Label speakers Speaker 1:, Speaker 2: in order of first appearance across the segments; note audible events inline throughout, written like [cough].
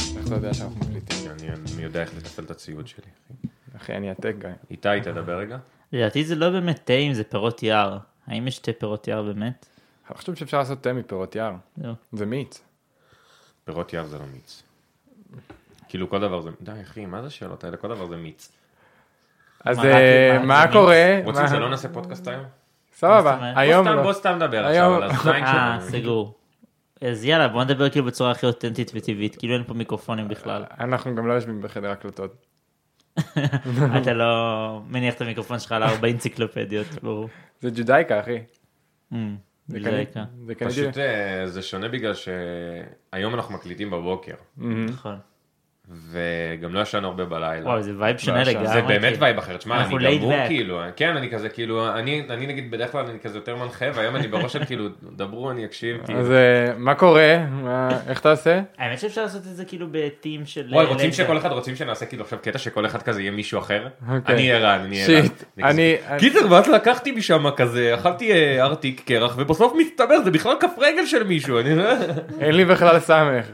Speaker 1: שאנחנו מקליטים.
Speaker 2: אני אני יודע איך לתפעל את הציוד שלי. אחי.
Speaker 1: אחי, אני העתק גם.
Speaker 2: איתי, תדבר רגע.
Speaker 3: לדעתי זה לא באמת טעים, זה פירות יער. האם יש שתי פירות יער באמת?
Speaker 1: אני חושב שאפשר לעשות תה מפירות יער.
Speaker 3: לא.
Speaker 1: זה מיץ.
Speaker 2: פירות יער זה לא מיץ. כאילו כל דבר זה, די אחי, מה זה השאלות האלה? כל דבר זה מיץ.
Speaker 1: אז
Speaker 3: מה,
Speaker 1: אה,
Speaker 3: מה,
Speaker 1: מה
Speaker 3: זה מיץ?
Speaker 1: קורה?
Speaker 2: רוצים
Speaker 1: אה, מה-
Speaker 2: שלא נעשה פודקאסט היום?
Speaker 3: מה זאת
Speaker 1: סבבה,
Speaker 3: אומרת?
Speaker 1: היום
Speaker 2: בוא סתם-
Speaker 1: לא.
Speaker 2: בוא סתם נדבר
Speaker 1: היום-
Speaker 2: עכשיו על הזין
Speaker 3: אה,
Speaker 2: שלנו.
Speaker 3: סגור. אז יאללה, בוא נדבר כאילו בצורה הכי אותנטית וטבעית, כאילו אין פה מיקרופונים
Speaker 2: [laughs]
Speaker 3: בכלל.
Speaker 1: אנחנו גם לא יושבים בחדר הקלטות.
Speaker 3: אתה לא מניח את המיקרופון שלך על ארבע אנציקלופדיות, ברור.
Speaker 1: זה ג'ודאיקה, אחי.
Speaker 3: Mm,
Speaker 1: זה
Speaker 3: בגלל
Speaker 1: קניתי-
Speaker 3: העיקר.
Speaker 1: זה קניתי.
Speaker 2: פשוט אה, זה שונה בגלל שהיום אנחנו מקליטים בבוקר, Mm.
Speaker 1: מהמם.
Speaker 3: נכון.
Speaker 2: וגם לא ישנו הרבה בלילה.
Speaker 3: וואו, זה וייב שונה
Speaker 1: עכשיו,
Speaker 3: לגמרי.
Speaker 2: לא, זה באמת
Speaker 3: כאילו.
Speaker 2: וייב אחר, תשמע, אני
Speaker 3: אנחנו laid
Speaker 2: גמור
Speaker 3: back.
Speaker 2: כאילו, כן, אני כזה כאילו, אני אני נגיד בדרך כלל אני כזה יותר מנחה, והיום אני בראש של כאילו, דברו, אני אקשיב, כאילו.
Speaker 1: אז אה, מה קורה? מה- איך תעשה?
Speaker 3: האמת שאפשר לעשות את זה כאילו בטים של...
Speaker 2: וואי, רוצים
Speaker 3: לייזר.
Speaker 2: שכל אחד, רוצים שנעשה כאילו עכשיו קטע שכל אחד כזה יהיה מישהו אחר?
Speaker 1: אוקיי.
Speaker 2: אני ערן, אני ערן.
Speaker 1: שיט,
Speaker 2: כזה-
Speaker 1: אני...
Speaker 2: קיצר, ואז לקחתי משם כזה, אכלתי אה, ארטיק קרח, ובסוף מסתבר, זה בכלל כף רגל של מישהו, אני לא...
Speaker 1: אין לי בכלל סמך.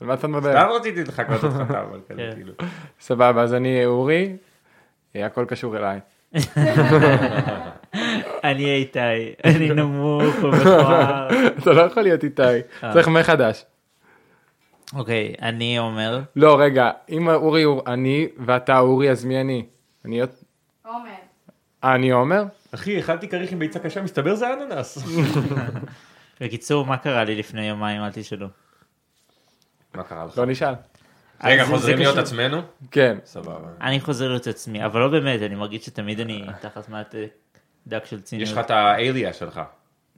Speaker 1: על מה אתה מדבר?
Speaker 2: סתם רציתי לחכות אותך, אתה, אבל כזה,
Speaker 3: כן.
Speaker 2: כאילו.
Speaker 1: סבבה, אז אני אורי, אה, הכל קשור אליי. [laughs]
Speaker 3: אני איתי, אני נמוך
Speaker 2: [laughs]
Speaker 3: ומכוער.
Speaker 1: אתה לא יכול להיות איתי,
Speaker 2: אה.
Speaker 1: צריך מחדש.
Speaker 3: אוקיי, אני אומר,
Speaker 1: לא, רגע, אם אורי הוא אני ואתה אורי, אז מי אני? אני... עוד-
Speaker 4: עומר.
Speaker 1: אה, אני עומר?
Speaker 2: אחי, אכלתי כריך עם ביצה קשה, מסתבר זה אננס.
Speaker 3: בקיצור, מה קרה לי לפני יומיים, אל תשאלו.
Speaker 2: מה קרה לך?
Speaker 1: לא נשאל.
Speaker 2: רגע,
Speaker 3: אז זה-
Speaker 2: חוזרים
Speaker 3: זה
Speaker 2: להיות
Speaker 3: קשור.
Speaker 2: עצמנו?
Speaker 1: כן.
Speaker 2: סבבה.
Speaker 3: אני חוזר להיות עצמי, אבל לא באמת, אני מרגיש שתמיד אני תחת מעט אה, דק של ציניות.
Speaker 2: יש לך את האליה שלך.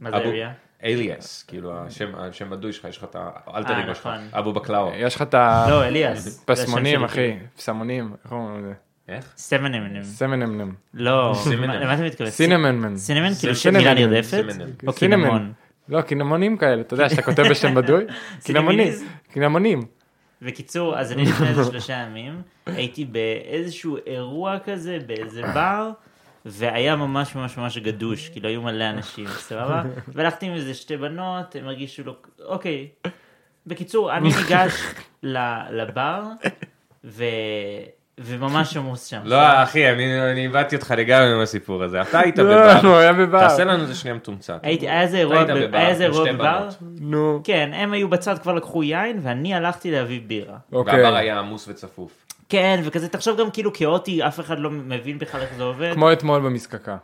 Speaker 3: מה זה
Speaker 2: אבו-
Speaker 3: אריה?
Speaker 2: אליאס, כאילו השם השם בדוי שלך, יש לך את
Speaker 3: אה,
Speaker 2: האלטריגו שלך.
Speaker 3: נכון.
Speaker 2: אבו בקלאו.
Speaker 1: יש לך את ה...
Speaker 3: לא, אליאס.
Speaker 1: פסמונים,
Speaker 3: זה השם שלי. כאילו.
Speaker 1: אחי. פסמונים, איך אומרים לזה?
Speaker 2: איך?
Speaker 3: סמנמנם.
Speaker 1: סמנמנם.
Speaker 3: לא,
Speaker 2: סימנם.
Speaker 3: מה- למה אתה מתכוון?
Speaker 1: סינמנמן.
Speaker 3: סינמן כאילו שם
Speaker 1: סינמנם.
Speaker 3: מילה נרדפת? אוקיי,
Speaker 2: סינמנם.
Speaker 3: או
Speaker 1: סינמנם.
Speaker 3: קינמון.
Speaker 1: לא, קינמונים כאלה, אתה יודע, שאתה כותב בשם
Speaker 3: [laughs]
Speaker 1: בדוי? [laughs] קינמונים.
Speaker 3: סינמיניז?
Speaker 1: קינמונים.
Speaker 3: בקיצור, אז אני לפני איזה שלושה ימים, הייתי באיזשהו אירוע כזה, באיזה בר, והיה ממש ממש ממש גדוש, כאילו היו מלא אנשים, סבבה? והלכתי עם איזה שתי בנות, הם הרגישו לא... אוקיי. בקיצור, אני ניגש ל- לבר, ו... וממש עמוס שם.
Speaker 2: לא, אחי, אני אני איבדתי אותך לגמרי עם הסיפור הזה. אתה היית
Speaker 1: לא,
Speaker 2: בבר.
Speaker 1: הוא היה בבר.
Speaker 2: תעשה לנו את זה שנייה מתומצת.
Speaker 3: הייתי, היה איזה אירוע,
Speaker 2: לא היית
Speaker 3: ב-
Speaker 2: בבר,
Speaker 3: היה איזה
Speaker 2: עם
Speaker 3: אירוע
Speaker 2: שתי
Speaker 3: בבר,
Speaker 2: בנות.
Speaker 1: נו.
Speaker 3: כן, הם היו בצד כבר לקחו יין, ואני הלכתי להביא בירה.
Speaker 1: אוקיי.
Speaker 2: והבר היה עמוס וצפוף.
Speaker 3: כן, וכזה, תחשוב גם כאילו כאוטי, אף אחד לא מבין בכלל איך זה עובד.
Speaker 1: כמו אתמול במזקקה.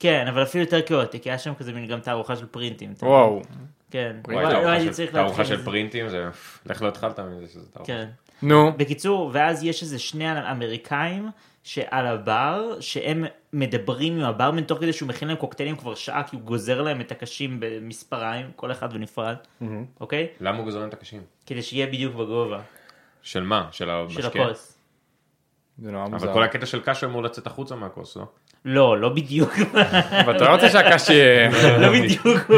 Speaker 3: כן, אבל אפילו יותר כאוטי, כי היה שם כזה מין גם תערוכה של פרינטים. אתה-
Speaker 1: וואו.
Speaker 3: כן.
Speaker 2: וואי,
Speaker 3: לא- לא
Speaker 2: תערוכה
Speaker 3: הייתי
Speaker 2: של-
Speaker 3: צריך
Speaker 2: תערוכה
Speaker 3: להתחיל
Speaker 2: של
Speaker 3: מזה.
Speaker 2: פרינטים, זה... איך לא התחלת מזה שזה תערוכה.
Speaker 3: כן.
Speaker 1: נו.
Speaker 3: בקיצור, ואז יש איזה שני אמריקאים שעל הבר, שהם מדברים עם הברמן תוך כדי שהוא מכין להם קוקטיילים כבר שעה, כי הוא גוזר להם את הקשים במספריים, כל אחד בנפרד, אוקיי?
Speaker 2: למה הוא גוזר להם את הקשים?
Speaker 3: כדי שיהיה בדיוק בגובה
Speaker 2: של מה? של המשקה?
Speaker 3: של הכוס.
Speaker 1: זה נורא מוזר.
Speaker 2: אבל כל הקטע של קש אמור לצאת החוצה מהכוס, לא? [laughs]
Speaker 3: לא, לא בדיוק,
Speaker 1: אבל אתה לא רוצה שהקש יהיה...
Speaker 2: [laughs]
Speaker 3: לא בדיוק.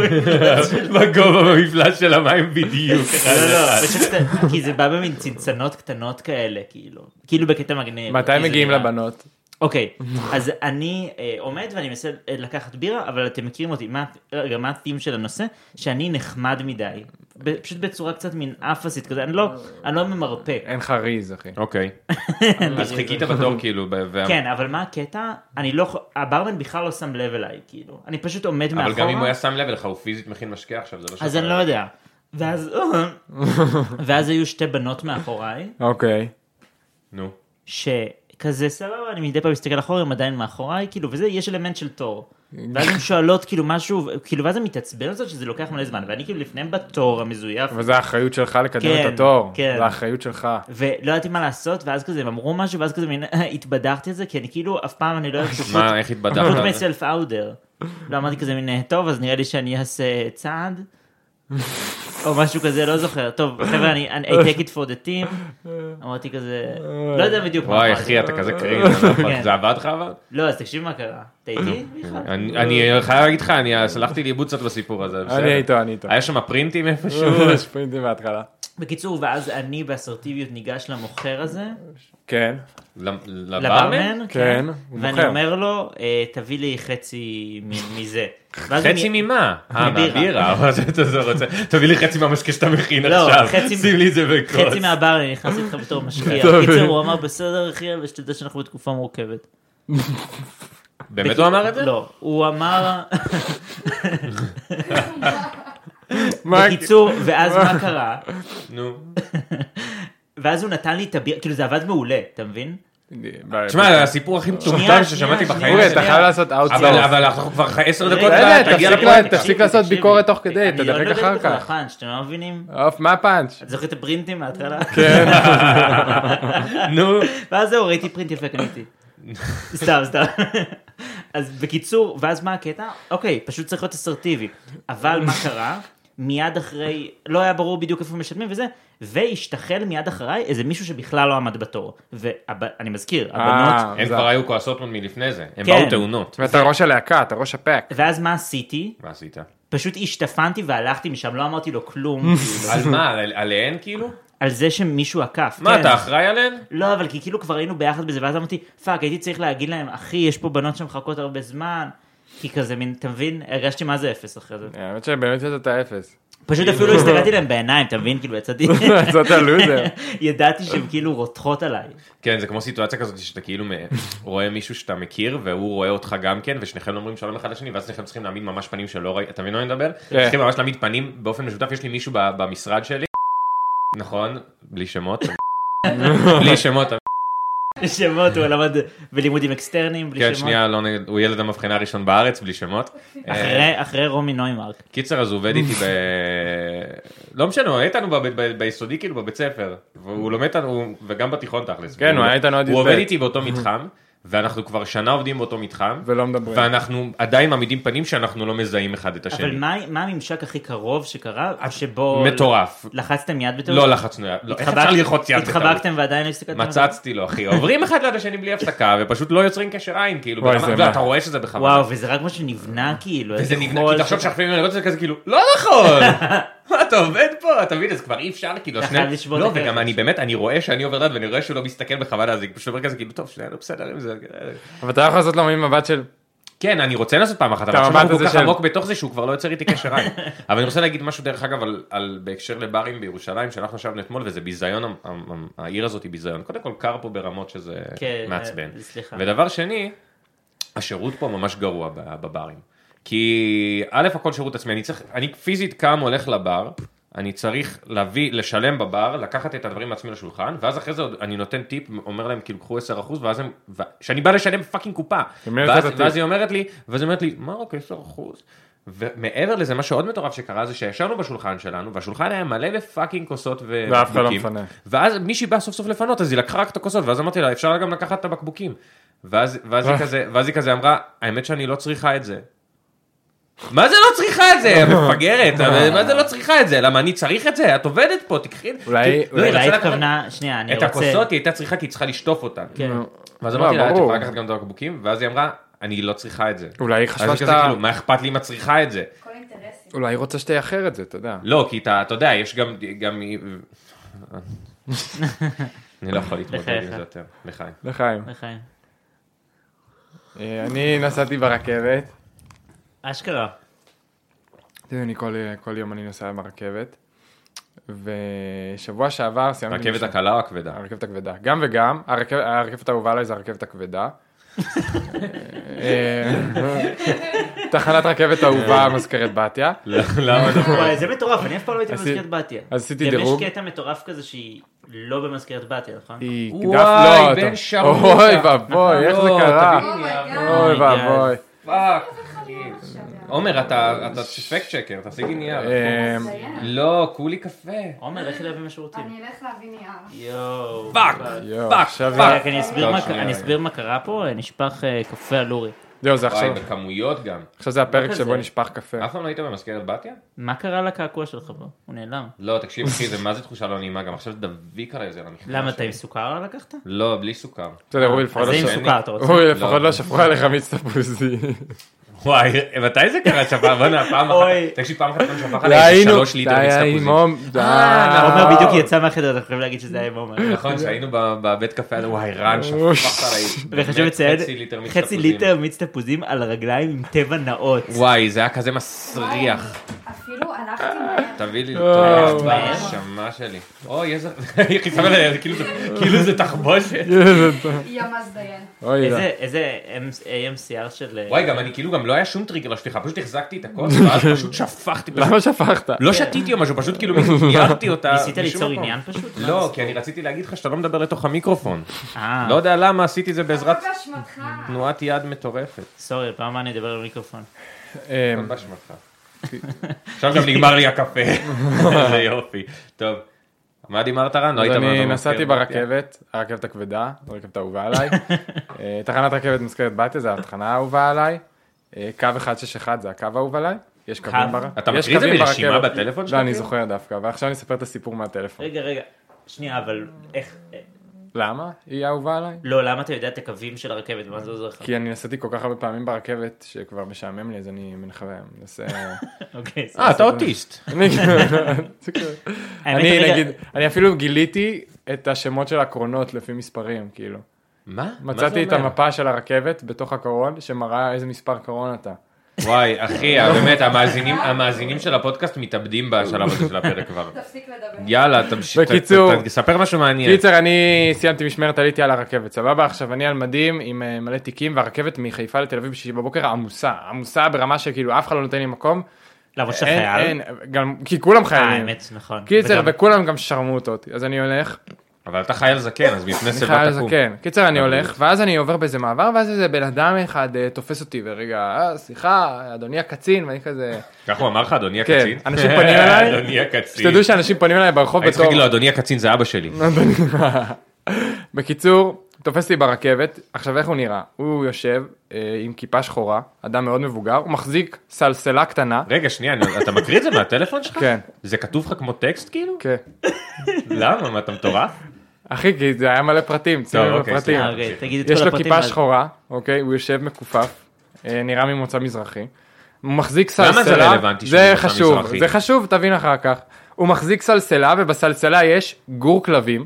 Speaker 2: בגובה במפלס של המים בדיוק.
Speaker 3: [laughs] לא, לא, פשוט- כי זה בא במין צנצנות קטנות כאלה, כאילו. כאילו בקטע מגניב.
Speaker 1: מתי
Speaker 3: כי זה
Speaker 1: מגיעים
Speaker 3: נראה-
Speaker 1: לבנות?
Speaker 3: אוקיי, אז אני אה, עומד ואני מנסה אה, לקחת בירה, אבל אתם מכירים אותי, מה- רגע, מה הטים של הנושא? שאני נחמד מדי. ב- פשוט בצורה קצת מין אפסית כזה, אני לא- אני לא ממרפק.
Speaker 1: אין לך ריז, אחי.
Speaker 3: [laughs]
Speaker 2: אוקיי. אז חיכית בתור כאילו, ב- וה-
Speaker 3: כן, אבל מה הקטע? אני לא, יכול- הברמן בכלל לא שם לב אליי, כאילו. אני פשוט עומד מאחורה.
Speaker 2: אבל גם אם הוא היה שם לב אליך, הוא פיזית מכין משקה עכשיו, זה לא
Speaker 3: אז
Speaker 2: שאתה-
Speaker 3: אני לא יודע.
Speaker 2: [laughs]
Speaker 3: ואז, ואז היו שתי בנות מאחוריי,
Speaker 1: אוקיי.
Speaker 2: נו.
Speaker 3: שכזה סבבה, אני מדי פעם מסתכל אחורה, הם עדיין מאחוריי, כאילו, וזה, יש אלמנט של תור.
Speaker 2: [laughs]
Speaker 3: ואז הן שואלות כאילו משהו, כאילו, ואז הן מתעצבן על זה שזה לוקח מלא זמן, ואני כאילו לפניהם בתור המזויף,
Speaker 1: אבל זה האחריות שלך לקדם
Speaker 3: כן,
Speaker 1: את התור.
Speaker 3: כן.
Speaker 1: זה האחריות שלך.
Speaker 3: ולא ידעתי מה לעשות, ואז כזה הם אמרו משהו, ואז כזה מין [laughs] התבדחתי על זה, כי אני כאילו, אף פעם אני
Speaker 2: [laughs]
Speaker 3: לא אוהב שפוט,
Speaker 2: מה, איך התבדחת?
Speaker 3: פוט מסלף אאודר. לא אמרתי כזה מין, "אה, טוב, אז נראה לי שאני אעשה צעד. או משהו כזה, לא זוכר. טוב, חבר'ה, אני אני- I
Speaker 2: [laughs]
Speaker 3: take it for the team. אמרתי כזה, לא יודע בדיוק מה
Speaker 2: וואי
Speaker 3: אמרתי.
Speaker 2: אחי אתה כזה קרינג'
Speaker 3: כן.
Speaker 2: זה עבד לך אבל?
Speaker 3: לא, אז תקשיב מה קרה. אתה איתי?
Speaker 1: לא.
Speaker 3: מיכל?
Speaker 2: אני אני חייב להגיד לך אני סלחתי לאיבוד קצת בסיפור הזה. בסדר.
Speaker 1: אני איתו, אה. אני איתו.
Speaker 2: היה שם פרינטים איפשהו?
Speaker 1: יש פרינטים בהתחלה.
Speaker 3: בקיצור, ואז אני באסרטיביות ניגש למוכר הזה,
Speaker 1: כן,
Speaker 2: למ- לברמן?
Speaker 3: לברמן,
Speaker 1: כן, הוא
Speaker 3: ואני
Speaker 1: מוכר.
Speaker 3: אומר לו, "אה, תביא לי חצי
Speaker 1: [laughs]
Speaker 3: מ- מזה. ואז
Speaker 2: חצי
Speaker 3: אני-
Speaker 2: ממה? אה,
Speaker 3: מבירה.
Speaker 2: מהבירה. [laughs] אבל אתה- אתה רוצה- תביא לי חצי מהמשקה שאתה מכין
Speaker 3: לא,
Speaker 2: עכשיו.
Speaker 3: חצי-
Speaker 2: שים לי את זה בכוס.
Speaker 3: חצי מהבר אני נכנס איתך בתור
Speaker 1: [laughs]
Speaker 3: משקיע.
Speaker 1: טוב.
Speaker 3: בקיצור, הוא אמר, בסדר אחי, אבל שתדע שאנחנו בתקופה מורכבת.
Speaker 2: באמת הוא אמר את זה?
Speaker 3: לא, הוא אמר,
Speaker 1: [laughs] מה-
Speaker 3: בקיצור, ואז
Speaker 1: [laughs]
Speaker 3: מה קרה?
Speaker 2: נו.
Speaker 3: ואז הוא נתן לי את הביר, כאילו זה עבד מעולה, אתה מבין?
Speaker 1: ב-
Speaker 2: תשמע, הסיפור הכי מטומטם
Speaker 3: שנייה,
Speaker 2: ששמעתי
Speaker 3: שנייה, לא
Speaker 2: בחיים
Speaker 1: אורי,
Speaker 2: שלי.
Speaker 1: אתה חייב לעשות
Speaker 2: אבל
Speaker 1: אאוטסורס.
Speaker 2: אבל אנחנו כבר עשר דקות,
Speaker 1: רגע,
Speaker 2: ואת תגיע
Speaker 1: תפסיק
Speaker 2: לפואנטה.
Speaker 1: לה- לא, תפסיק לעשות ביקורת תוך כדי, תדרג
Speaker 3: אני
Speaker 1: אחר
Speaker 3: לא מדבר
Speaker 1: כך.
Speaker 3: איתך לחן, שאתם לא מבינים?
Speaker 1: עוף, מה הפאנץ'?
Speaker 3: את זוכרת את הפרינטים מההתחלה?
Speaker 1: כן.
Speaker 2: נו.
Speaker 3: ואז זהו, ראיתי פרינט
Speaker 2: [laughs]
Speaker 3: יפה, קניתי. סתם, סתם. אז בקיצור, ואז מה הקטע? אוקיי, פשוט צריך להיות אסרטיבי. אבל מה קרה? מיד אחרי, לא היה ברור בדיוק איפה משלמים וזה, והשתחל מיד אחריי איזה מישהו שבכלל לא עמד בתור. ואני מזכיר, הבנות...
Speaker 1: אה,
Speaker 2: הם
Speaker 1: זה-
Speaker 2: כבר היו כועסות עוד מלפני זה. הם
Speaker 3: כן.
Speaker 2: באו תאונות.
Speaker 1: ואתה ראש הלהקה, אתה ראש הפק.
Speaker 3: ואז מה עשיתי?
Speaker 2: מה
Speaker 3: [laughs]
Speaker 2: עשית?
Speaker 3: פשוט השתפנתי והלכתי משם, לא אמרתי
Speaker 2: [laughs]
Speaker 3: לו כלום. כאילו,
Speaker 2: על מה? על- עליהן כאילו?
Speaker 3: על זה שמישהו עקף.
Speaker 2: מה,
Speaker 3: כן.
Speaker 2: אתה אחראי עליהן?
Speaker 3: לא, אבל כי כאילו כבר היינו ביחד בזה, ואז אמרתי, פאק, הייתי צריך להגיד להם, אחי, יש פה בנות שמחכות הרבה זמן. כי כזה מין, אתה מבין? הרגשתי מה זה אפס אחרי זה.
Speaker 1: אה, האמת שבאמת יצאת
Speaker 2: [laughs]
Speaker 1: אפס.
Speaker 3: פשוט אפילו
Speaker 2: כאילו-
Speaker 3: הסתכלתי להם בעיניים, אתה מבין? כאילו יצאתי...
Speaker 1: יצאת לוזר.
Speaker 3: ידעתי שהן כאילו רותחות עליי.
Speaker 2: כן, זה כמו סיטואציה כזאת שאתה כאילו מ- [laughs] רואה מישהו שאתה מכיר, והוא רואה אותך גם כן, ושניכם אומרים שלום אחד לשני, ואז שניכם צריכים להעמיד ממש פנים שלא ראית, אתה מבין מה אני מדבר? צריכים ממש להעמיד פנים באופן משותף, יש לי מישהו ב- במשרד שלי, נכון? בלי שמות. בלי שמות,
Speaker 3: שמות, הוא למד בלימודים אקסטרניים, בלי
Speaker 2: כן,
Speaker 3: שמות.
Speaker 2: שנייה, לא נגד, הוא ילד המבחנה הראשון בארץ, בלי שמות. אה,
Speaker 3: אחרי- אחרי רומי נוימרק.
Speaker 2: קיצר, אז הוא עובד איתי ב... לא משנה, הוא היה איתנו בב- ב- ביסודי, כאילו, בבית ספר. והוא לומד איתנו, הוא- וגם בתיכון תכלס.
Speaker 1: כן, הוא היה איתנו עד
Speaker 2: הוא
Speaker 1: י"ב.
Speaker 2: עובד איתי באותו מתחם, ואנחנו כבר שנה עובדים באותו מתחם.
Speaker 1: ולא מדברים.
Speaker 2: ואנחנו עדיין מעמידים פנים שאנחנו לא מזהים אחד את
Speaker 3: אבל
Speaker 2: השני.
Speaker 3: מה מה הממשק הכי קרוב שקרה, שבו...
Speaker 2: מטורף.
Speaker 3: לחצתם יד בטעות?
Speaker 2: לא לחצנו יד. לא, איך אפשר
Speaker 3: התחבק-
Speaker 2: ללחוץ יד? בטעות?
Speaker 3: התחבקתם ועדיין לא הסתכלתם? על זה?
Speaker 2: מצצתי לו, אחי. עוברים אחד ליד השני בלי הפסקה, ופשוט לא יוצרים קשר עין, כאילו.
Speaker 1: וואי,
Speaker 2: ברמה-
Speaker 1: זה
Speaker 2: ואתה
Speaker 1: מה.
Speaker 2: רואה שזה בכוונה.
Speaker 3: וואו, וזה רק מה שנבנה כאילו.
Speaker 2: וזה
Speaker 3: איזה
Speaker 2: נבנה,
Speaker 3: חול
Speaker 2: כי תחשוב
Speaker 3: ש-
Speaker 2: שאנחנו יכולים לראות את זה כזה כאילו, לא
Speaker 3: [laughs]
Speaker 2: נכון, מה אתה עובד פה, אתה מבין, אז כבר אי אפשר, כאילו,
Speaker 3: אתה
Speaker 2: שני-
Speaker 3: חייב לשבור
Speaker 2: לא,
Speaker 3: את
Speaker 2: וגם
Speaker 3: הקרח.
Speaker 2: אני באמת, אני רואה שאני עובר ליד ואני רואה שהוא לא מסתכל בכוונה, אז אני פשוט אומר כזה, כאילו, טוב, שנייה, לא בסדר עם זה,
Speaker 1: אבל אתה לא יכול לעשות לו מין מבט של...
Speaker 2: כן, אני רוצה לנסות פעם אחת, אבל
Speaker 1: אתה
Speaker 2: עכשיו אנחנו
Speaker 1: מבט הזה
Speaker 2: כל כך
Speaker 1: של-
Speaker 2: עמוק בתוך זה שהוא כבר לא יוצר איתי קשר עין, [laughs] אבל אני רוצה להגיד משהו, דרך אגב, על- על בהקשר לברים בירושלים, שאנחנו ישבנו אתמול, וזה ביזיון, המ- המ- המ- העיר הזאת היא ביזיון, קודם כל קר פה ברמות שזה
Speaker 3: כן,
Speaker 2: מעצבן,
Speaker 3: אה, סליחה.
Speaker 2: ודבר שני, השירות פה ממש גרוע ב- בברים. כי א', הכל שירות עצמי, אני צריך, אני פיזית קם, הולך לבר, אני צריך להביא, לשלם בבר, לקחת את הדברים מעצמי לשולחן, ואז אחרי זה עוד אני נותן טיפ, אומר להם כאילו קחו 10% ואז הם, ו- שאני בא לשלם פאקינג קופה,
Speaker 1: ומי
Speaker 2: ואז,
Speaker 1: נתת טיפ?
Speaker 2: ואז היא אומרת לי, ואז היא אומרת לי, מה רק 10%? ומעבר לזה, מה שעוד מטורף שקרה זה שישבנו בשולחן שלנו, והשולחן היה מלא בפאקינג כוסות ו...
Speaker 1: ואף אחד לא
Speaker 2: בקבוקים.
Speaker 1: מפנה.
Speaker 2: ואז מישהי באה סוף סוף לפנות, אז היא לקחה רק את הכוסות, ואז אמרתי לה, אפשר גם לקחת את הבקבוקים. ואז, ואז,
Speaker 1: אה.
Speaker 2: היא כזה, ואז היא כזה אמרה, האמת שאני לא צריכה את זה. מה זה לא צריכה
Speaker 1: [laughs]
Speaker 2: את זה, מפגרת, מה זה לא צריכה את זה, למה אני צריך את זה, את עובדת פה, תקחי.
Speaker 1: אולי-
Speaker 2: לא, היא
Speaker 3: אולי
Speaker 2: רצתה לקחת-
Speaker 3: התכוונה, שנייה, אני
Speaker 2: את
Speaker 3: רוצה...
Speaker 2: הכוסות היא הייתה צריכה כי היא צריכה לשטוף אותן.
Speaker 3: כן.
Speaker 2: ואז
Speaker 1: לא,
Speaker 2: אמרתי לה, את
Speaker 1: ברור.
Speaker 2: יכולה לקחת גם את הבקבוקים, ואז היא אמרה, אני לא צריכה את זה.
Speaker 1: אולי היא
Speaker 2: אז
Speaker 1: חשבה
Speaker 2: היא כזה
Speaker 1: שאתה...
Speaker 2: כאילו, מה אכפת לי אם את צריכה את זה?
Speaker 4: כל אינטרסים.
Speaker 1: אולי היא רוצה שתייחר את זה, אתה יודע.
Speaker 2: לא, כי אתה, אתה יודע, יש גם... גם...
Speaker 3: [laughs]
Speaker 2: אני לא יכול להתמודד עם
Speaker 3: בחייך.
Speaker 2: זה יותר, לחיים.
Speaker 1: לחיים.
Speaker 2: לא.
Speaker 3: לחיים.
Speaker 1: אה, אני נסעתי ברכבת.
Speaker 2: [laughs]
Speaker 3: אשכרה.
Speaker 1: אתם יודעים, אני כל, כל יום אני נוסע ברכבת. ושבוע שעבר סיימתי...
Speaker 2: הרכבת
Speaker 1: משהו-
Speaker 2: הקלה או הכבדה?
Speaker 1: הרכבת הכבדה. גם וגם, הרכב, הרכבת האהובה עליי זה הרכבת
Speaker 2: [laughs]
Speaker 1: הכבדה. אה, תחנת רכבת אהובה
Speaker 2: אה.
Speaker 1: מזכרת בתיה.
Speaker 2: לא, למה
Speaker 3: [laughs]
Speaker 2: דווקא?
Speaker 3: וואי, זה מטורף, אני אף פעם לא הייתי
Speaker 1: עשי-
Speaker 3: במזכרת בתיה.
Speaker 1: אז עשיתי
Speaker 3: גם
Speaker 1: דירוג.
Speaker 3: יש קטע מטורף כזה שהיא לא במזכרת בתיה, נכון?
Speaker 1: היא
Speaker 2: וואי,
Speaker 1: קדף- לא,
Speaker 2: בן
Speaker 1: אתה-
Speaker 2: שרמוטה.
Speaker 1: אוי ואבוי, איך זה
Speaker 2: לא, אה,
Speaker 1: קרה?
Speaker 2: תגיד לי,
Speaker 4: אומייגאד.
Speaker 1: אוי
Speaker 3: Oh my
Speaker 1: ואבוי.
Speaker 2: פאק.
Speaker 4: עכשיו,
Speaker 2: עומר, אתה פקט שקר, תשיגי נייר.
Speaker 1: אה,
Speaker 4: מצוין.
Speaker 2: לא, כולי קפה.
Speaker 3: עומר, איך היא להביא מהשירותים?
Speaker 2: כן.
Speaker 4: אני אלך להביא נייר.
Speaker 3: יואו.
Speaker 2: פאק.
Speaker 1: יואו,
Speaker 2: אה, פאק,
Speaker 1: עכשיו...
Speaker 2: פאק.
Speaker 3: רק אני אסביר
Speaker 2: לא,
Speaker 3: מה-
Speaker 2: שנייה,
Speaker 3: אני
Speaker 2: רגע.
Speaker 3: אסביר מה קרה פה, אה, נשפך אה, קפה על אורי.
Speaker 1: זהו, זה עכשיו.
Speaker 2: וואי, בכמויות גם.
Speaker 1: עכשיו זה הפרק
Speaker 3: כזה.
Speaker 1: שבו נשפך קפה.
Speaker 2: אף פעם לא היית במזכרת בתיה?
Speaker 3: מה קרה לקעקוע שלך פה? הוא נעלם.
Speaker 2: לא, תקשיב, אחי, זה מה זה תחושה לא נעימה, גם עכשיו דביק עליי זה על המכנס.
Speaker 3: למה, אתה עם סוכר לקחת?
Speaker 2: לא, בלי סוכר.
Speaker 1: בסדר, אורי לפחות
Speaker 3: אז
Speaker 1: לא
Speaker 3: זה עם
Speaker 1: שפ-
Speaker 2: [laughs] שאני-
Speaker 3: סוכר, אתה רוצה?
Speaker 1: אורי לפחות
Speaker 2: לא.
Speaker 1: לא שפכו עליך מיץ תפוזי.
Speaker 2: וואי, מתי זה קרה שפר? בוא'נה, פעם
Speaker 3: אוי.
Speaker 2: אחת, תקשיב, פעם אחת פעם שפך עליי אוקיי, שלוש ליטר אה, נכון.
Speaker 1: זה לא היה
Speaker 2: מסתפוזית.
Speaker 1: עם הום, זה היה-
Speaker 3: עומר בדיוק יצא מהחדר, אנחנו חייבים להגיד שזה היה עם עומר.
Speaker 2: נכון, שהיינו ב- בבית קפה, אז וואי, רן, שפכת עליי.
Speaker 3: וחשוב
Speaker 2: באמת,
Speaker 3: לציין,
Speaker 2: חצי ליטר
Speaker 3: חצי
Speaker 2: מסתפוזים.
Speaker 3: ליטר מיץ תפוזים על הרגליים עם טבע נאות.
Speaker 2: וואי, זה היה כזה מסריח.
Speaker 4: אפילו הלכתי מהר.
Speaker 2: תביא לי
Speaker 1: וואו.
Speaker 2: לתרח בנשמה שלי. אוי, איזה... איך היא שמה לב, כאילו זה- כאילו זה תחבושת.
Speaker 4: ימ"ס דיין.
Speaker 1: אוי,
Speaker 3: איזה-
Speaker 1: לא.
Speaker 3: איזה AMCR של... אה,
Speaker 2: וואי, גם אני כאילו גם לא היה שום טריגר לשפיכה, פשוט החזקתי את הכוס, ואז פשוט שפכתי. [laughs] פשוט-
Speaker 1: למה שפכת?
Speaker 2: לא שתיתי או משהו, פשוט כאילו ניירתי אותה.
Speaker 3: ניסית
Speaker 2: משום
Speaker 3: ליצור
Speaker 2: מקום.
Speaker 3: עניין פשוט?
Speaker 2: לא, כי אני רציתי להגיד לך שאתה לא מדבר לתוך המיקרופון.
Speaker 3: אה,
Speaker 2: לא יודע למה עשיתי זה בעזרת
Speaker 4: הכל באשמתך.
Speaker 2: תנועת יד מטורפת.
Speaker 3: סורי, פעם הבאה אני אדבר במיקרופון.
Speaker 1: אה,
Speaker 2: הכל באשמתך. עכשיו גם נגמר
Speaker 1: [laughs]
Speaker 2: לי הקפה. איזה יופי. טוב. מה דימרת רן? לא
Speaker 1: אה, אז
Speaker 2: היית
Speaker 1: אני
Speaker 2: במקום
Speaker 1: נסעתי
Speaker 2: אחר.
Speaker 1: ברכבת, הרכבת הכבדה, הרכבת האהובה עליי. אה, תחנת רכבת מזכרת בתיה, זו התחנה האהובה עליי. אה, קו 161 זה הקו האהוב עליי. יש קווים בר-
Speaker 2: אתה
Speaker 1: יש
Speaker 2: מקריא את זה
Speaker 1: קווים
Speaker 2: ברשימה
Speaker 1: ברכבת.
Speaker 2: בטלפון שלך? כאילו?
Speaker 1: לא, אני זוכר דווקא, ועכשיו אני אספר את הסיפור מהטלפון.
Speaker 3: רגע, רגע, שנייה, אבל איך... אה,
Speaker 2: אוקיי.
Speaker 1: למה היא אהובה עליי?
Speaker 3: לא, למה אתה יודע את הקווים של הרכבת? מה זה עוזר לך?
Speaker 1: כי אני נסעתי כל כך הרבה פעמים ברכבת, שכבר משעמם לי, אז אני מנחווה, מנסה...
Speaker 2: [laughs]
Speaker 3: אוקיי, סורי.
Speaker 2: אה, אתה אוטיסט.
Speaker 1: אני- זה [laughs] כזה.
Speaker 3: האמת,
Speaker 1: אני
Speaker 3: רגע-
Speaker 1: נגיד, אני אפילו גיליתי את השמות של הקרונות לפי מספרים, כאילו.
Speaker 2: מה? מה זה
Speaker 1: מצאתי את
Speaker 2: אומר?
Speaker 1: המפה של הרכבת בתוך הקרון, שמראה איזה מספר קרון אתה.
Speaker 2: וואי, אחי,
Speaker 1: לא.
Speaker 2: באמת, המאזינים- המאזינים של הפודקאסט מתאבדים בשלב הזה של הפרק כבר.
Speaker 4: תפסיק לדבר.
Speaker 2: יאללה, תמשיך.
Speaker 1: בקיצור.
Speaker 2: תספר משהו
Speaker 3: כן.
Speaker 2: מעניין.
Speaker 1: קיצר, אני סיימתי משמרת, עליתי על הרכבת, סבבה? עכשיו אני על מדים עם אה, מלא תיקים, והרכבת מחיפה לתל אביב בשישי בבוקר עמוסה, עמוסה ברמה שכאילו אף אחד לא נותן לי מקום.
Speaker 3: למרות שאתה
Speaker 1: אין,
Speaker 3: חייל.
Speaker 1: אין, גם, כי כולם
Speaker 3: אה,
Speaker 1: חיילים.
Speaker 3: האמת, נכון.
Speaker 1: קיצר,
Speaker 3: וגם-
Speaker 1: וכולם גם שרמוטות, אז אני הולך,
Speaker 2: אבל אתה חייל זקן, אז בפני
Speaker 1: אני חייל
Speaker 2: שיבה
Speaker 1: זקן.
Speaker 2: תקום.
Speaker 1: כן, קיצר, אני
Speaker 2: אבל-
Speaker 1: הולך, ואז אני עובר באיזה מעבר, ואז איזה בן אדם אחד אה, תופס אותי, ורגע, אה, סליחה, אדוני הקצין, ואני
Speaker 2: [laughs]
Speaker 1: כזה...
Speaker 2: כך הוא אמר לך, אדוני
Speaker 1: כן,
Speaker 2: הקצין?
Speaker 1: אנשים פונים אליי.
Speaker 2: [laughs] אדוני הקצין.
Speaker 1: שתדעו שאנשים פונים אליי ברחוב
Speaker 2: הייתי צריך
Speaker 1: בתור... לא. [laughs]
Speaker 2: להגיד לו, אדוני הקצין זה אבא שלי.
Speaker 1: בקיצור, תופס לי ברכבת, עכשיו איך הוא נראה? הוא יושב אה, עם כיפה שחורה, אדם מאוד מבוגר, הוא מחזיק סלסלה קטנה,
Speaker 2: רגע, שנייה, אני- אתה מקריא את זה מהטלפון שלך?
Speaker 1: כן.
Speaker 2: זה כתוב לך כמו טקסט כאילו?
Speaker 1: כן.
Speaker 2: למה? מה, אתה מטורף?
Speaker 1: אחי, כי זה היה מלא פרטים, שים לב
Speaker 2: אוקיי,
Speaker 1: לפרטים.
Speaker 3: אה, אוקיי, תגיד את כל
Speaker 1: יש לו
Speaker 3: הפרטים.
Speaker 1: כיפה
Speaker 3: ואז-
Speaker 1: שחורה, אוקיי, הוא יושב מכופף, אה, נראה ממוצא מזרחי. הוא מחזיק
Speaker 2: למה
Speaker 1: סלסלה,
Speaker 2: זה רלוונטי שהוא
Speaker 1: זה
Speaker 2: ממוצא
Speaker 1: חשוב,
Speaker 2: מזרחי?
Speaker 1: זה חשוב, תבין אחר כך. הוא מחזיק סלסלה, ובסלסלה יש גור כלבים,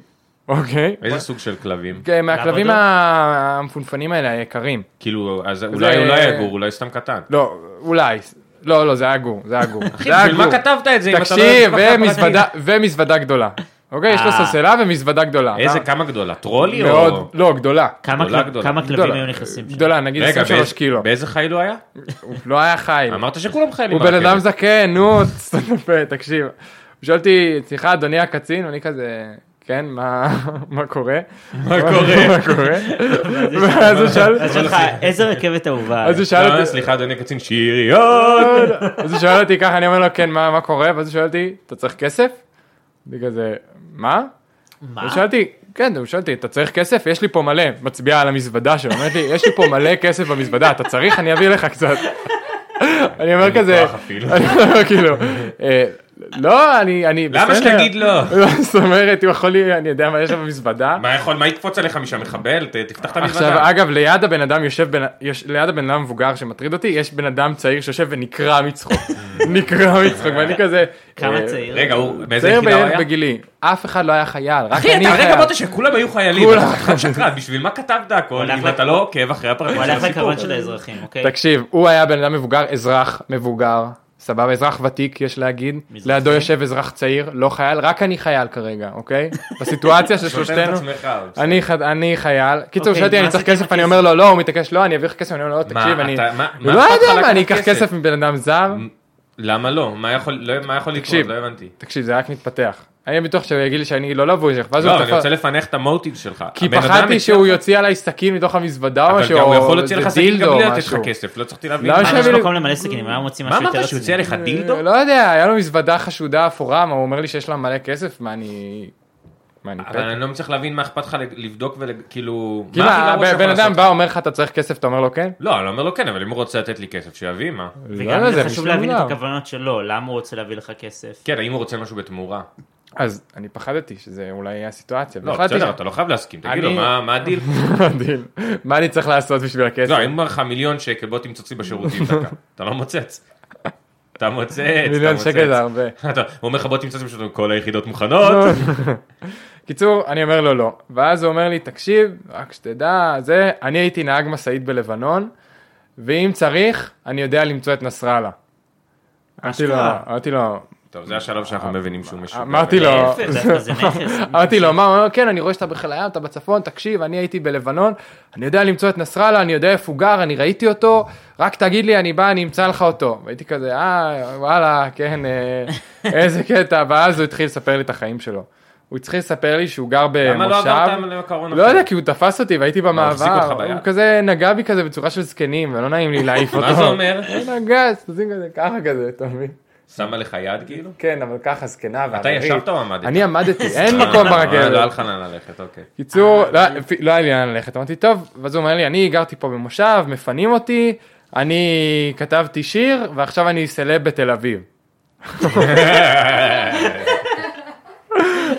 Speaker 1: אוקיי?
Speaker 2: איזה סוג של כלבים?
Speaker 1: כן,
Speaker 2: לא?
Speaker 1: מהכלבים
Speaker 3: לעבודות?
Speaker 1: ה- המפונפנים האלה, היקרים.
Speaker 2: כאילו, אז אולי הוא לא היה גור, אולי סתם קטן.
Speaker 1: לא, אולי. לא, לא, זה היה גור, זה היה גור.
Speaker 2: אחי, בשביל מה כתבת את זה אם אתה לא...
Speaker 1: תקשיב,
Speaker 2: יודע את הפרטים?
Speaker 1: ומזוודה- ומזוודה גדולה. אוקיי? יש לו
Speaker 3: אה.
Speaker 1: סלסלה ומזוודה גדולה.
Speaker 2: איזה,
Speaker 1: אתה-
Speaker 2: כמה גדולה? טרולי או...
Speaker 1: מאוד, לא, גדולה.
Speaker 3: כמה
Speaker 2: גדולה,
Speaker 3: כל-
Speaker 2: גדולה.
Speaker 3: כמה כלבים
Speaker 1: גדולה.
Speaker 3: היו נכנסים שם?
Speaker 1: גדולה, נגיד
Speaker 2: רגע, אה,
Speaker 1: 23
Speaker 2: באיזה-
Speaker 1: קילו.
Speaker 2: באיזה חייל הוא היה?
Speaker 1: הוא לא היה חי.
Speaker 2: אמרת שכולם חיילים.
Speaker 1: הוא בן
Speaker 2: ברכבת.
Speaker 1: אדם זקן, נו, [laughs] תסתום את הפה, תקשיב. הוא שואל אותי, סליחה, אדוני הקצין, ואני כזה, כן, מה [laughs] מה קורה? [laughs]
Speaker 2: מה קורה?
Speaker 1: מה קורה? ואז הוא שאל,
Speaker 3: אז יש לך, איזה רכבת אהובה.
Speaker 1: אז הוא שאל
Speaker 2: לא,
Speaker 1: אותי,
Speaker 2: סליחה, אדוני הקצין, שיריון!
Speaker 1: אז הוא שואל אותי ככה, אני אומר לו, כן, מה מה קורה? ואז הוא שואל אותי, אתה צריך כסף? אני כזה, מה?
Speaker 3: מה?
Speaker 1: אז שאלתי, כן, הוא שאל אותי, אתה צריך כסף? יש לי פה מלא. מצביעה על המזוודה שלו, אומרת לי, יש לי פה מלא כסף במזוודה, אתה צריך? אני אביא לך קצת. [laughs] אני אומר
Speaker 2: אין לי
Speaker 1: לא כזה,
Speaker 2: כוח
Speaker 1: [laughs]
Speaker 2: אפילו.
Speaker 1: אני אומר כאילו, "אה, לא, אני, אני,
Speaker 2: למה
Speaker 1: בסדר."
Speaker 2: שתגיד לא?
Speaker 1: לא, [laughs] זאת אומרת, הוא יכול לי, אני יודע מה יש לו במזוודה.
Speaker 2: מה יכול, מה יקפוץ עליך משם, מחבל? ת- תפתח את
Speaker 1: עכשיו,
Speaker 2: המזוודה.
Speaker 1: אגב, ליד הבן אדם יושב, בן- יש- ליד הבן אדם המבוגר שמטריד אותי, יש בן אדם צעיר שיושב ונקרע
Speaker 2: [laughs]
Speaker 1: מצחוק. נקרע מצחוק, ואני כזה...
Speaker 3: כמה
Speaker 1: אה,
Speaker 3: צעיר?
Speaker 2: רגע, הוא, באיזה
Speaker 1: צעיר
Speaker 2: יחידה הוא
Speaker 1: בערך
Speaker 2: היה?
Speaker 1: בגילי. אף אחד לא היה חייל, רק
Speaker 2: אחי,
Speaker 1: אני
Speaker 2: אתה הרגע
Speaker 1: חייל.
Speaker 2: אמרת שכולם היו חיילים,
Speaker 1: כולם.
Speaker 2: אתה חתיכת שקרן, בשביל מה כתבת הכל,
Speaker 3: הלך
Speaker 2: אם
Speaker 3: ל-
Speaker 2: אתה לא עוקב אחרי הפרטים
Speaker 3: הוא
Speaker 2: של
Speaker 3: הלך
Speaker 2: הסיפור?
Speaker 3: לקרון של האזרחים, אוקיי?
Speaker 1: תקשיב, הוא היה בן אדם מבוגר, אזרח מבוגר, סבבה, אזרח ותיק יש להגיד,
Speaker 3: מזרחי.
Speaker 1: לידו יושב אזרח צעיר, לא חייל, רק אני חייל כרגע, אוקיי? בסיטואציה של
Speaker 2: שוטן את
Speaker 1: שלושתנו,
Speaker 2: עצמך.
Speaker 1: אני ח- אני חייל, קיצור,
Speaker 3: אוקיי,
Speaker 1: שאלתי,
Speaker 3: מה
Speaker 1: אני צריך
Speaker 3: עשית עם
Speaker 1: כסף, אני
Speaker 3: הכסף?
Speaker 1: אומר לו, לא, הוא מתעקש, לא, אני אביא לך כסף, אני אומר לו, לא, תקשיב,
Speaker 2: אתה-
Speaker 1: אני...
Speaker 2: מה-
Speaker 1: הוא
Speaker 2: מה
Speaker 1: לא
Speaker 2: אכפת לך
Speaker 1: יודע מה,
Speaker 2: לקחת
Speaker 1: אני אקח
Speaker 2: כסף?
Speaker 1: כסף מבן אדם זר?
Speaker 2: למה לא? מה יכול- לא- מה יכול לקרות?
Speaker 1: תקשיב.
Speaker 2: לא הבנתי.
Speaker 1: תקשיב, זה רק מתפתח. היה בטוח שהוא יגיד לי שאני לא לבוז'ך, ואז הוא
Speaker 2: לא, אני
Speaker 1: תפס...
Speaker 2: רוצה לפנך את המוטיב שלך.
Speaker 1: כי
Speaker 2: הבן אדם
Speaker 1: פחדתי
Speaker 2: הציע
Speaker 1: שהוא
Speaker 2: לך-
Speaker 1: יוציא עליי סכין מתוך המזוודה או
Speaker 2: אבל
Speaker 1: משהו,
Speaker 2: גם הוא יכול
Speaker 1: או
Speaker 2: להוציא לך
Speaker 1: איזה
Speaker 2: סכין גם
Speaker 1: דילדו או
Speaker 2: בלי לתת
Speaker 1: משהו.
Speaker 2: לך כסף, לא צריכתי להבין.
Speaker 1: למה
Speaker 2: מה-
Speaker 1: שאני-
Speaker 3: יש
Speaker 1: אבל-
Speaker 3: מקום למלא סכינים, היה מוציא
Speaker 2: מה
Speaker 3: משהו יותר
Speaker 2: אמרת שהוא הציע
Speaker 3: רציני.
Speaker 2: לך דילדו?
Speaker 1: לא יודע, היה לו מזוודה חשודה, אפורה, מה, הוא אומר לי שיש לה מלא כסף, מה אני... מה אני
Speaker 2: אבל
Speaker 1: פטר?
Speaker 2: אני לא מצליח להבין מה אכפת לך לבדוק וכאילו...
Speaker 1: כאילו, הבן אדם בא, אומר לך, אתה צריך כסף, אתה אומר לו כן?
Speaker 2: לא, אני לא אומר לו כן, אבל אם הוא רוצה לתת לי כסף, שיביא מה.
Speaker 1: לא יודע,
Speaker 3: וגם זה
Speaker 1: זה
Speaker 3: חשוב
Speaker 1: משום
Speaker 3: להבין את
Speaker 1: דבר.
Speaker 3: הכוונות שלו, למה הוא רוצה להביא לך כסף.
Speaker 2: כן, האם הוא רוצה משהו בתמורה?
Speaker 1: אז אני פחדתי שזה אולי יהיה הסיטואציה.
Speaker 2: לא,
Speaker 1: והחלטתי
Speaker 2: בסדר,
Speaker 1: ש-
Speaker 2: אתה לא חייב להסכים, תגיד לו,
Speaker 1: אני-
Speaker 2: מה מה הדיל?
Speaker 1: מדהים. מה אני צריך לעשות בשביל הכסף?
Speaker 2: לא, אני אומר לך מיליון שקל, בוא תמצוצי בשירותים דקה. אתה לא מוצץ. אתה מוצץ, אתה
Speaker 1: מיליון שקל זה
Speaker 2: מוצץ.
Speaker 1: הרבה.
Speaker 2: אתה- הוא אומר לך בוא תמצא את זה כל היחידות מוכנות.
Speaker 1: קיצור, אני אומר לו לא. ואז הוא אומר לי, תקשיב, רק שתדע, זה, אני הייתי נהג משאית בלבנון, ואם צריך, אני יודע למצוא את נסראללה. אמרתי לו,
Speaker 3: אשכרה.
Speaker 1: אמרתי לו,
Speaker 2: טוב, זה השלב שאנחנו מבינים שהוא משוגע.
Speaker 1: אמרתי לו,
Speaker 3: להפך,
Speaker 1: [laughs]
Speaker 3: דווקא זה נכס.
Speaker 1: אמרתי לו, לא. מה, הוא אומר, כן, אני רואה שאתה בחיל הים, אתה בצפון, תקשיב, אני הייתי בלבנון, אני יודע למצוא את נסראללה, אני יודע איפה הוא גר, אני ראיתי אותו, רק תגיד לי, אני בא, אני אמצא לך אותו. והייתי כזה, אה, וואלה, כן,
Speaker 2: [laughs]
Speaker 1: אה, איזה קטע, ואז הוא התחיל לספר לי את החיים שלו. הוא התחיל לספר לי שהוא גר במושב.
Speaker 2: למה לא עברת למקרון
Speaker 1: לא יודע, כי הוא תפס אותי והייתי
Speaker 2: החזיק
Speaker 1: במעבר,
Speaker 2: לא, אותך ביד?
Speaker 1: הוא כזה נגע בי כזה בצורה של זקנים, ולא נעים לי להעיף אותו.
Speaker 2: [laughs] מה זה אומר?
Speaker 1: הוא נגע, עושים כזה, ככה כזה, אתה מבין?
Speaker 2: שמה לך יד כאילו?
Speaker 1: כן, אבל ככה זקנה
Speaker 2: אתה
Speaker 1: והררית.
Speaker 2: ישבת או עמדת?
Speaker 1: אני
Speaker 2: [laughs]
Speaker 1: עמדתי, אין
Speaker 2: אה,
Speaker 1: מקום
Speaker 2: אה, לא היה
Speaker 1: ברכבת.
Speaker 2: לך לאן ללכת, אוקיי.
Speaker 1: קיצור, לא- אפי- לא היה לי לאן ללכת, אמרתי, טוב, ואז הוא אומר לי, אני גרתי פה במושב, מפנים אותי, אני כתבתי שיר, ועכשיו אני סלב בתל אביב.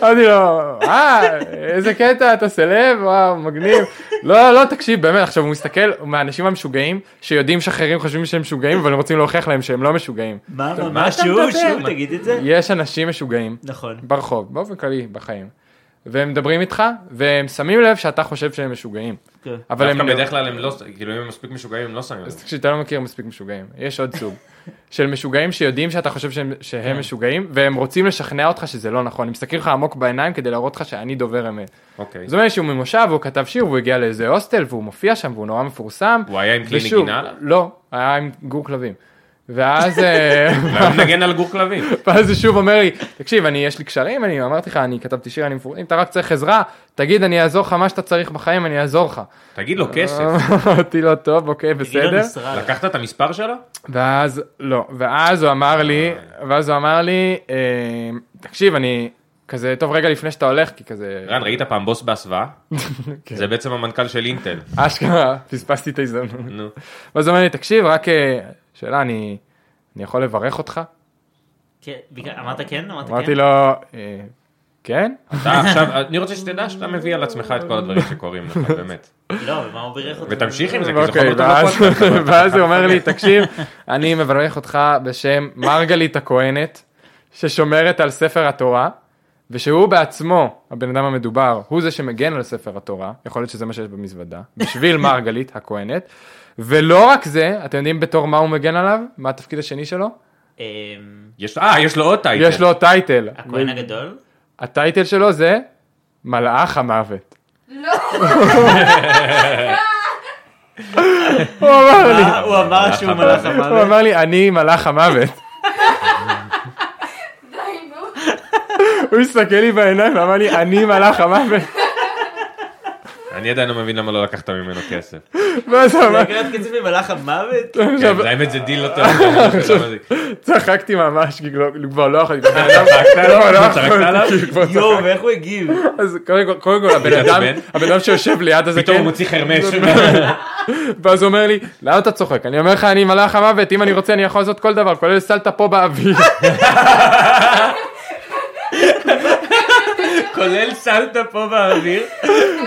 Speaker 1: אמרתי לו, אה, איזה קטע, אתה סלב, וואו, מגניב. לא, לא, תקשיב, באמת, עכשיו הוא מסתכל, הוא מהאנשים המשוגעים, שיודעים שאחרים חושבים שהם משוגעים, אבל הם רוצים להוכיח להם שהם לא משוגעים.
Speaker 3: מה, מה,
Speaker 2: מה
Speaker 3: מה,
Speaker 2: אתה
Speaker 3: שהוא,
Speaker 2: מדבר?
Speaker 3: שהוא, תגיד את זה.
Speaker 1: יש אנשים משוגעים,
Speaker 3: נכון.
Speaker 1: ברחוב, באופן כללי, בחיים, והם מדברים איתך, והם שמים לב שאתה חושב שהם משוגעים.
Speaker 3: כן.
Speaker 1: אבל הם...
Speaker 2: דווקא בדרך כלל הם לא, כאילו אם הם מספיק משוגעים הם לא שמים. לב.
Speaker 1: אז תקשיב, אתה לא מכיר מספיק משוגעים, יש עוד
Speaker 2: [laughs]
Speaker 1: סוג. של משוגעים שיודעים שאתה חושב שהם,
Speaker 2: כן.
Speaker 1: שהם משוגעים, והם רוצים לשכנע אותך שזה לא נכון. הם מסתכלים לך עמוק בעיניים כדי להראות לך שאני דובר אמת.
Speaker 2: אוקיי.
Speaker 1: זאת אומרת שהוא ממושב, והוא כתב שיר, והוא הגיע לאיזה הוסטל, והוא מופיע שם, והוא נורא מפורסם.
Speaker 2: הוא היה עם כלי
Speaker 1: ושוב,
Speaker 2: נגינה עליו?
Speaker 1: לא, היה עם גור כלבים. ואז,
Speaker 2: [laughs]
Speaker 1: אה,
Speaker 2: הוא מנגן על גור כלבים.
Speaker 1: ואז הוא שוב אומר לי, תקשיב, אני, יש לי קשרים, אני אמרתי לך, אני כתבתי שיר, אני מפורסם, אם אתה רק צריך עזרה, תגיד, אני אעזור לך מה שאתה צריך בחיים, אני אעזור לך. [laughs]
Speaker 2: תגיד לו כסף.
Speaker 1: אמרתי לו, טוב, אוקיי,
Speaker 3: גדעון
Speaker 1: בסדר.
Speaker 3: נסראללה.
Speaker 2: לקחת את המספר שלו?
Speaker 1: ואז לא, ואז הוא אמר לי, ואז הוא אמר לי, אה, תקשיב, אני כזה, טוב, רגע לפני שאתה הולך, כי כזה,
Speaker 2: רן, ראית פעם בוס בהסוואה?
Speaker 1: כן.
Speaker 2: זה בעצם המנכ"ל של אינטל.
Speaker 1: אשכרה, [laughs] פספסתי את ההזדמנות.
Speaker 2: נו.
Speaker 1: ואז הוא אומר לי, תקשיב, רק אה, שאלה, אני אני יכול לברך אותך?
Speaker 3: כן, בגלל- אמרת כן? אמרת כן?
Speaker 1: אמרתי לו, "אה, כן?
Speaker 2: אתה עכשיו, אני רוצה שתדע שאתה מביא על עצמך את כל הדברים שקורים לך, באמת.
Speaker 3: לא, אבל מה הוא בירך אותו?
Speaker 2: ותמשיך עם זה, כי זה
Speaker 1: אוקיי,
Speaker 2: חומר טוב
Speaker 1: ואז-
Speaker 2: לפודקאסט.
Speaker 1: [laughs] ואז הוא אומר לי, תקשיב, אני מברך אותך בשם מרגלית הכהנת, ששומרת על ספר התורה, ושהוא בעצמו, הבן אדם המדובר, הוא זה שמגן על ספר התורה, יכול להיות שזה מה שיש במזוודה, בשביל מרגלית הכהנת, ולא רק זה, אתם יודעים בתור מה הוא מגן עליו? מה התפקיד השני שלו?
Speaker 3: אמ,
Speaker 2: יש- אה, יש לו עוד טייטל.
Speaker 1: יש לו טייטל.
Speaker 3: הכהן הגדול?
Speaker 1: לא, הטייטל שלו זה מלאך המוות.
Speaker 4: לא,
Speaker 1: הוא אמר לי,
Speaker 3: אה, הוא אמר שהוא מלאך
Speaker 1: לא. הוא
Speaker 3: המוות.
Speaker 1: אמר לי, אני מלאך המוות. [laughs]
Speaker 4: די, נו.
Speaker 1: הוא הסתכל לי בעיניים ואמר לי, אני מלאך המוות. [laughs]
Speaker 2: אני עדיין לא מבין למה לא לקחת ממנו כסף.
Speaker 1: [laughs] ואז הוא אמר,
Speaker 3: לקחת כסף ממלאך
Speaker 1: לא.
Speaker 3: המוות?
Speaker 2: כן, זה האמת זה דיל
Speaker 1: [laughs]
Speaker 2: לא טוב. אני לא יודע מה זה.
Speaker 1: צחקתי ממש, כי לא- כבר לא יכולתי. לא,
Speaker 2: צחקת אה, עליו?
Speaker 1: לא
Speaker 2: צחקת עליו?
Speaker 1: יכולתי. כי כבר צחקתי.
Speaker 3: יואו, ואיך הוא הגיב?
Speaker 1: אז קודם כל- קודם כל, הבן אדם,
Speaker 2: התעצבן?
Speaker 1: הבן אדם שיושב ליד הזה,
Speaker 2: פתאום
Speaker 1: כן,
Speaker 2: הוא מוציא חרמש.
Speaker 1: ואז הוא אומר לי, למה אתה צוחק? אני אומר לך, אני מלאך המוות, אם אני רוצה אני יכול לעשות כל דבר, כולל סלטה פה באוויר.
Speaker 2: כולל סלטה פה באוויר.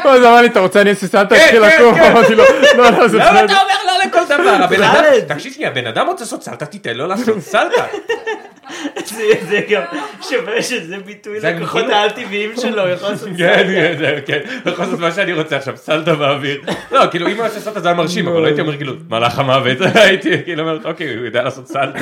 Speaker 1: אז אמר לי, אתה רוצה אני אעשה סלטה, התחיל
Speaker 2: כן,
Speaker 1: לקום,
Speaker 2: כן.
Speaker 1: אמרתי לו, לא, לא, זה
Speaker 2: למה
Speaker 1: בסדר.
Speaker 2: אתה אומר לא לכל דבר? הבן אדם-
Speaker 3: חאלד.
Speaker 2: תקשיב שנייה, הבן אדם רוצה לעשות סלטה, תיתן לו לעשות סלטה.
Speaker 3: זה זה גם שווה שזה ביטוי
Speaker 2: זה
Speaker 3: לכוחות
Speaker 1: נכון.
Speaker 2: כאילו-
Speaker 3: העל-טבעיים שלו, הוא יכול לעשות
Speaker 2: כן, כן, כן, הוא יכול לעשות מה שאני רוצה עכשיו, סלטה באוויר. לא, כאילו אם הוא עושה סלטה זה היה מרשים, אבל לא הייתי אומר כאילו, מלאך המוות, [laughs] הייתי כאילו אומר, אוקיי, הוא יודע לעשות סלטה.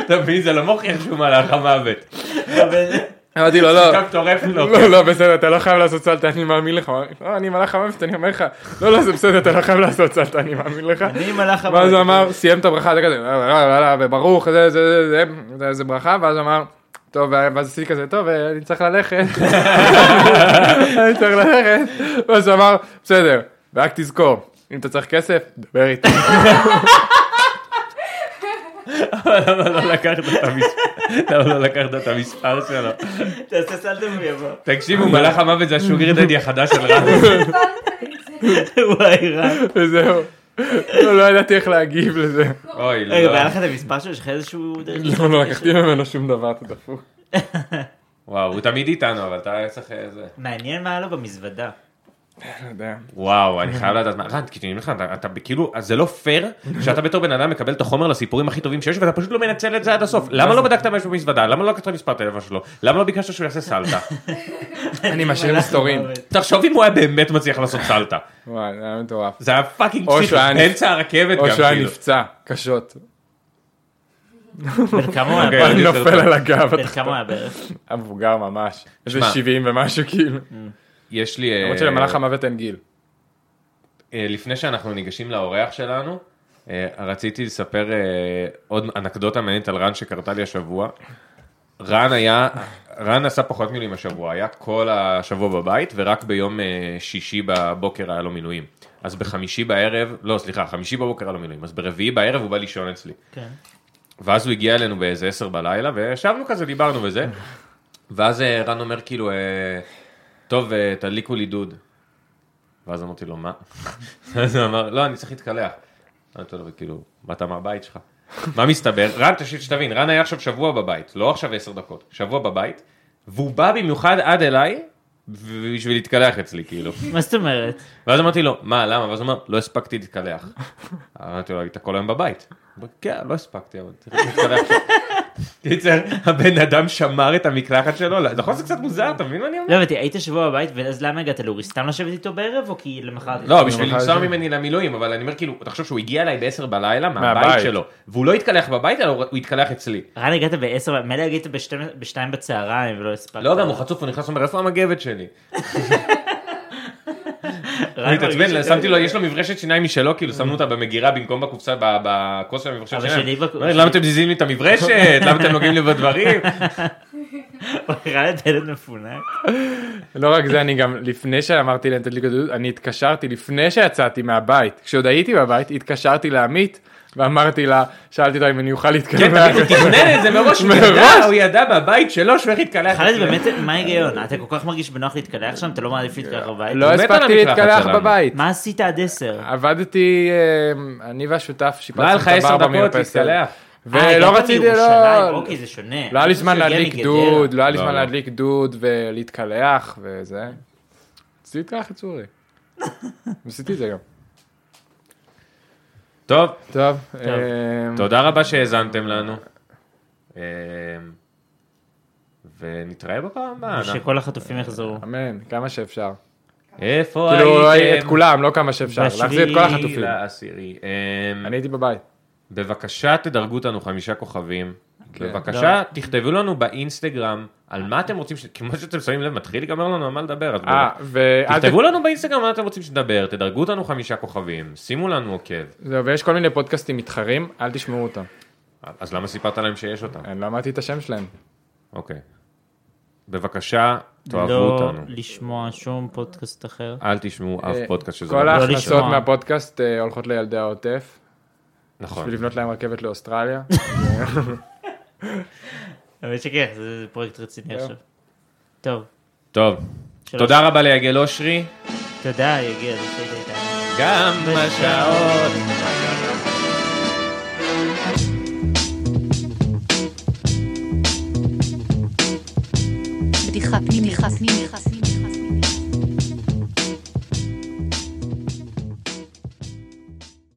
Speaker 2: אתה מבין, זה לא מוכיח שהוא מלאך המוות.
Speaker 1: כן.
Speaker 3: סלטה.
Speaker 1: אמרתי לו, לא.
Speaker 2: גם טורף לו.
Speaker 1: לא, לא, בסדר, אתה לא חייב לעשות סלטה, אני מאמין לך. הוא אמר לי, לא, אני מלאך המוות, אני אומר לך, לא, לא, זה בסדר, אתה לא חייב לעשות סלטה, אני מאמין לך.
Speaker 3: אני מלאך המוות.
Speaker 1: ואז הוא אמר, סיים את הברכה, אתה כזה, "לא, לא, לא, לא, וברוך, זה, זה, זה, זה, זה ברכה, ואז הוא אמר, טוב, ואז עשיתי כזה, טוב, אה, אני צריך ללכת, אני צריך ללכת, ואז הוא אמר, בסדר, ורק תזכור, אם אתה צריך כסף, דבר איתי.
Speaker 2: [laughs]
Speaker 1: [laughs]
Speaker 2: למה לא לקחת את המספר- למה לא לקחת את המספר שלו?
Speaker 3: תעשה סלטה והוא יבוא.
Speaker 2: תקשיבו, מלאך המוות זה השוגר דדי החדש של רן.
Speaker 3: וואי, רע.
Speaker 1: וזהו. לא, לא ידעתי איך להגיב לזה.
Speaker 2: אוי, לא.
Speaker 3: רגע, והיה לך את המספר שלו? יש לך איזשהו...
Speaker 1: לא, לא לקחתי ממנו שום דבר, אתה דפוק.
Speaker 2: וואו, הוא תמיד איתנו, אבל אתה צריך אה, איזה...
Speaker 3: מעניין מה היה לו במזוודה.
Speaker 1: לא יודע.
Speaker 2: וואו, אני חייב לדעת מה, רן, כי אני אומר לך, אתה- אתה כאילו, אז זה לא פייר שאתה בתור בן אדם מקבל את החומר לסיפורים הכי טובים שיש, ואתה פשוט לא מנצל את זה עד הסוף. למה לא בדקת מה יש במזוודה? למה לא לקחת את מספר טלפון שלו? למה לא ביקשת שהוא יעשה סלטה?
Speaker 1: אני משאיר מסתורים.
Speaker 2: תחשוב אם הוא היה באמת מצליח לעשות סלטה.
Speaker 1: וואי, זה היה מטורף.
Speaker 2: זה היה פאקינג
Speaker 1: או
Speaker 2: פסיכי,
Speaker 1: שהוא היה נפ-
Speaker 2: באמצע הרכבת
Speaker 1: או
Speaker 2: גם,
Speaker 1: שהוא היה
Speaker 2: כאילו.
Speaker 1: נפצע, קשות.
Speaker 3: בן כמה הוא היה
Speaker 2: אוקיי,
Speaker 3: בערך?
Speaker 2: אני-
Speaker 1: נופל על הגב,
Speaker 3: בן כמה הוא היה בערך?
Speaker 1: המבוגר ממש. איזה
Speaker 2: כן. שמע.
Speaker 1: 70 ומשהו כאילו.
Speaker 2: יש לי... אה,
Speaker 1: למרות שלמלאך המוות אין גיל.
Speaker 2: אה, לפני שאנחנו ניגשים לאורח שלנו, אה, רציתי לספר אה, עוד אנקדוטה מעניינת על רן שקרתה לי השבוע. רן היה, רן עשה פחות מילואים השבוע, היה כל השבוע בבית ורק ביום אה, שישי בבוקר היה לו מילואים. אז בחמישי בערב, לא סליחה, חמישי בבוקר היה לו מילואים, אז ברביעי בערב הוא בא לישון אצלי.
Speaker 3: כן.
Speaker 2: ואז הוא הגיע אלינו באיזה עשר בלילה, וישבנו כזה, דיברנו וזה. ואז אה, רן אומר כאילו, אה, טוב, אה, תדליקו לי דוד. ואז אמרתי לו, מה? [laughs] אז הוא אמר, לא, אני צריך להתקלח. אמרתי לו, כאילו, באת מהבית שלך. מה מסתבר? רן, תשאיר שתבין, רן היה עכשיו שבוע בבית, לא עכשיו עשר דקות, שבוע בבית, והוא בא במיוחד עד אליי בשביל להתקלח אצלי, כאילו.
Speaker 3: מה זאת אומרת?
Speaker 2: ואז אמרתי לו, מה, למה? ואז הוא אמר, לא הספקתי להתקלח. אמרתי לו, היית כל היום בבית. הוא אמר, כן, לא הספקתי, אבל צריך להתקלח. [laughs] קיצר, הבן אדם שמר את המקלחת שלו, נכון זה קצת מוזר, אתה מבין מה אני אומר?
Speaker 3: לא הבנתי, היית שבוע בבית, ואז למה הגעת לאורי? סתם לשבת איתו בערב, או כי למחרת?
Speaker 2: לא, בשביל
Speaker 1: מחר
Speaker 2: לנסוע
Speaker 1: ישן.
Speaker 2: ממני למילואים, אבל אני אומר, כאילו, תחשוב שהוא הגיע אליי ב-10 בלילה מהבית
Speaker 1: מהבית.
Speaker 2: שלו, והוא לא התקלח בבית, אלא הוא התקלח אצלי.
Speaker 3: רן הגעת ב-10, מילא הגעת ב-2 בשתיים בצהריים, ולא הספקת.
Speaker 2: לא, גם הוא חצוף, הוא נכנס ואומר, איפה המגבת שלי?
Speaker 3: רן
Speaker 2: הוא התעצבן,
Speaker 3: מרגיש-
Speaker 2: שמתי לו, יש לו מברשת שיניים משלו, כאילו שמנו אותה במגירה במקום בקופסה, ב- בכוס של המברשת
Speaker 3: אבל שלי
Speaker 2: שיניים.
Speaker 3: בק-
Speaker 2: הוא אומר, למה אתם מזיזים לי את המברשת? למה אתם נוגעים לי בדברים?
Speaker 3: רן את הילד מפונק.
Speaker 1: לא רק זה, אני גם, לפני שאמרתי להם תדליקו דוד, אני התקשרתי, לפני שיצאתי מהבית, כשעוד הייתי בבית, התקשרתי לעמית, ואמרתי לה, שאלתי אותה אם אני אוכל
Speaker 2: כן,
Speaker 1: להתקלח.
Speaker 2: תמיד הוא תכנן את זה מראש, הוא
Speaker 1: מראש.
Speaker 2: ידע, הוא ידע בבית שלו שהוא איך יתקלח.
Speaker 3: חלד, באמת, מה ההיגיון? אתה כל כך מרגיש בנוח להתקלח שם, אתה לא מעדיף להתקלח בבית?
Speaker 1: לא
Speaker 2: הוא מת על
Speaker 1: הספקתי
Speaker 2: המקלחת
Speaker 1: להתקלח
Speaker 2: שלנו.
Speaker 1: בבית.
Speaker 3: מה עשית עד אה, 10?
Speaker 1: עבדתי, אה, אני והשותף
Speaker 2: לא היה
Speaker 1: שיפצנו
Speaker 2: לך
Speaker 1: את
Speaker 2: עשר
Speaker 1: הבר
Speaker 2: דקות אה,
Speaker 1: במרפסת.
Speaker 2: להתקלח.
Speaker 1: ולא רציתי, לא...
Speaker 3: אוקיי, זה שונה.
Speaker 1: לא היה לי זמן
Speaker 3: מישהו הגיע
Speaker 1: להדליק
Speaker 3: מגדרה.
Speaker 1: דוד, לא היה לי
Speaker 2: לא,
Speaker 1: זמן
Speaker 2: לא.
Speaker 1: להדליק דוד ולהתקלח וזה. רציתי להתקלח את
Speaker 2: [laughs]
Speaker 1: צורי. עשיתי את זה גם.
Speaker 2: טוב,
Speaker 1: טוב, אה,
Speaker 2: תודה רבה שהאזנתם לנו. אה, ונתראה בפעם הבאה.
Speaker 1: לא,
Speaker 2: אנחנו-
Speaker 3: שכל החטופים יחזרו.
Speaker 1: אמן, כמה שאפשר.
Speaker 2: איפה הייתם?
Speaker 1: כאילו את כולם, לא כמה שאפשר, להחזיר את כל
Speaker 3: בשביעי
Speaker 1: החטופים.
Speaker 2: לעשירי. אה,
Speaker 1: אני הייתי בבית.
Speaker 2: בבקשה תדרגו אותנו חמישה כוכבים.
Speaker 1: כן.
Speaker 2: בבקשה תכתבו לנו באינסטגרם על מה אתם רוצים, ש- כמו שאתם שמים לב מתחיל להיגמר לנו על מה לדבר, אז
Speaker 1: אה, ואל ת-
Speaker 2: תכתבו לנו באינסטגרם מה אתם רוצים שנדבר, תדרגו אותנו חמישה כוכבים, שימו לנו עוקב.
Speaker 1: זהו, ויש כל מיני פודקאסטים מתחרים, אל תשמעו אותם.
Speaker 2: אז למה סיפרת להם שיש אותם?
Speaker 1: אני לא אמרתי את השם שלהם.
Speaker 2: אוקיי. בבקשה, תאהבו
Speaker 3: לא
Speaker 2: אותנו.
Speaker 3: לשמוע שום פודקאסט אחר.
Speaker 2: אל תשמעו אף
Speaker 1: אה,
Speaker 2: פודקאסט שזה...
Speaker 1: כל
Speaker 2: לא-
Speaker 3: ה-
Speaker 1: ההכנסות
Speaker 3: לשמוע.
Speaker 1: מהפודקאסט אה, הולכות לילדי העוטף,
Speaker 2: נכון.
Speaker 1: בשביל לבנות להם רכבת לאוסטרליה.
Speaker 3: האמת שכן, זה זה פרויקט רציני עכשיו. טוב,
Speaker 2: טוב.
Speaker 3: שלוש.
Speaker 2: תודה רבה ליגל אושרי.
Speaker 3: תודה, יגיע, זה שהיית איתנו.
Speaker 2: גם בשעות.
Speaker 5: בדיחה פנימית.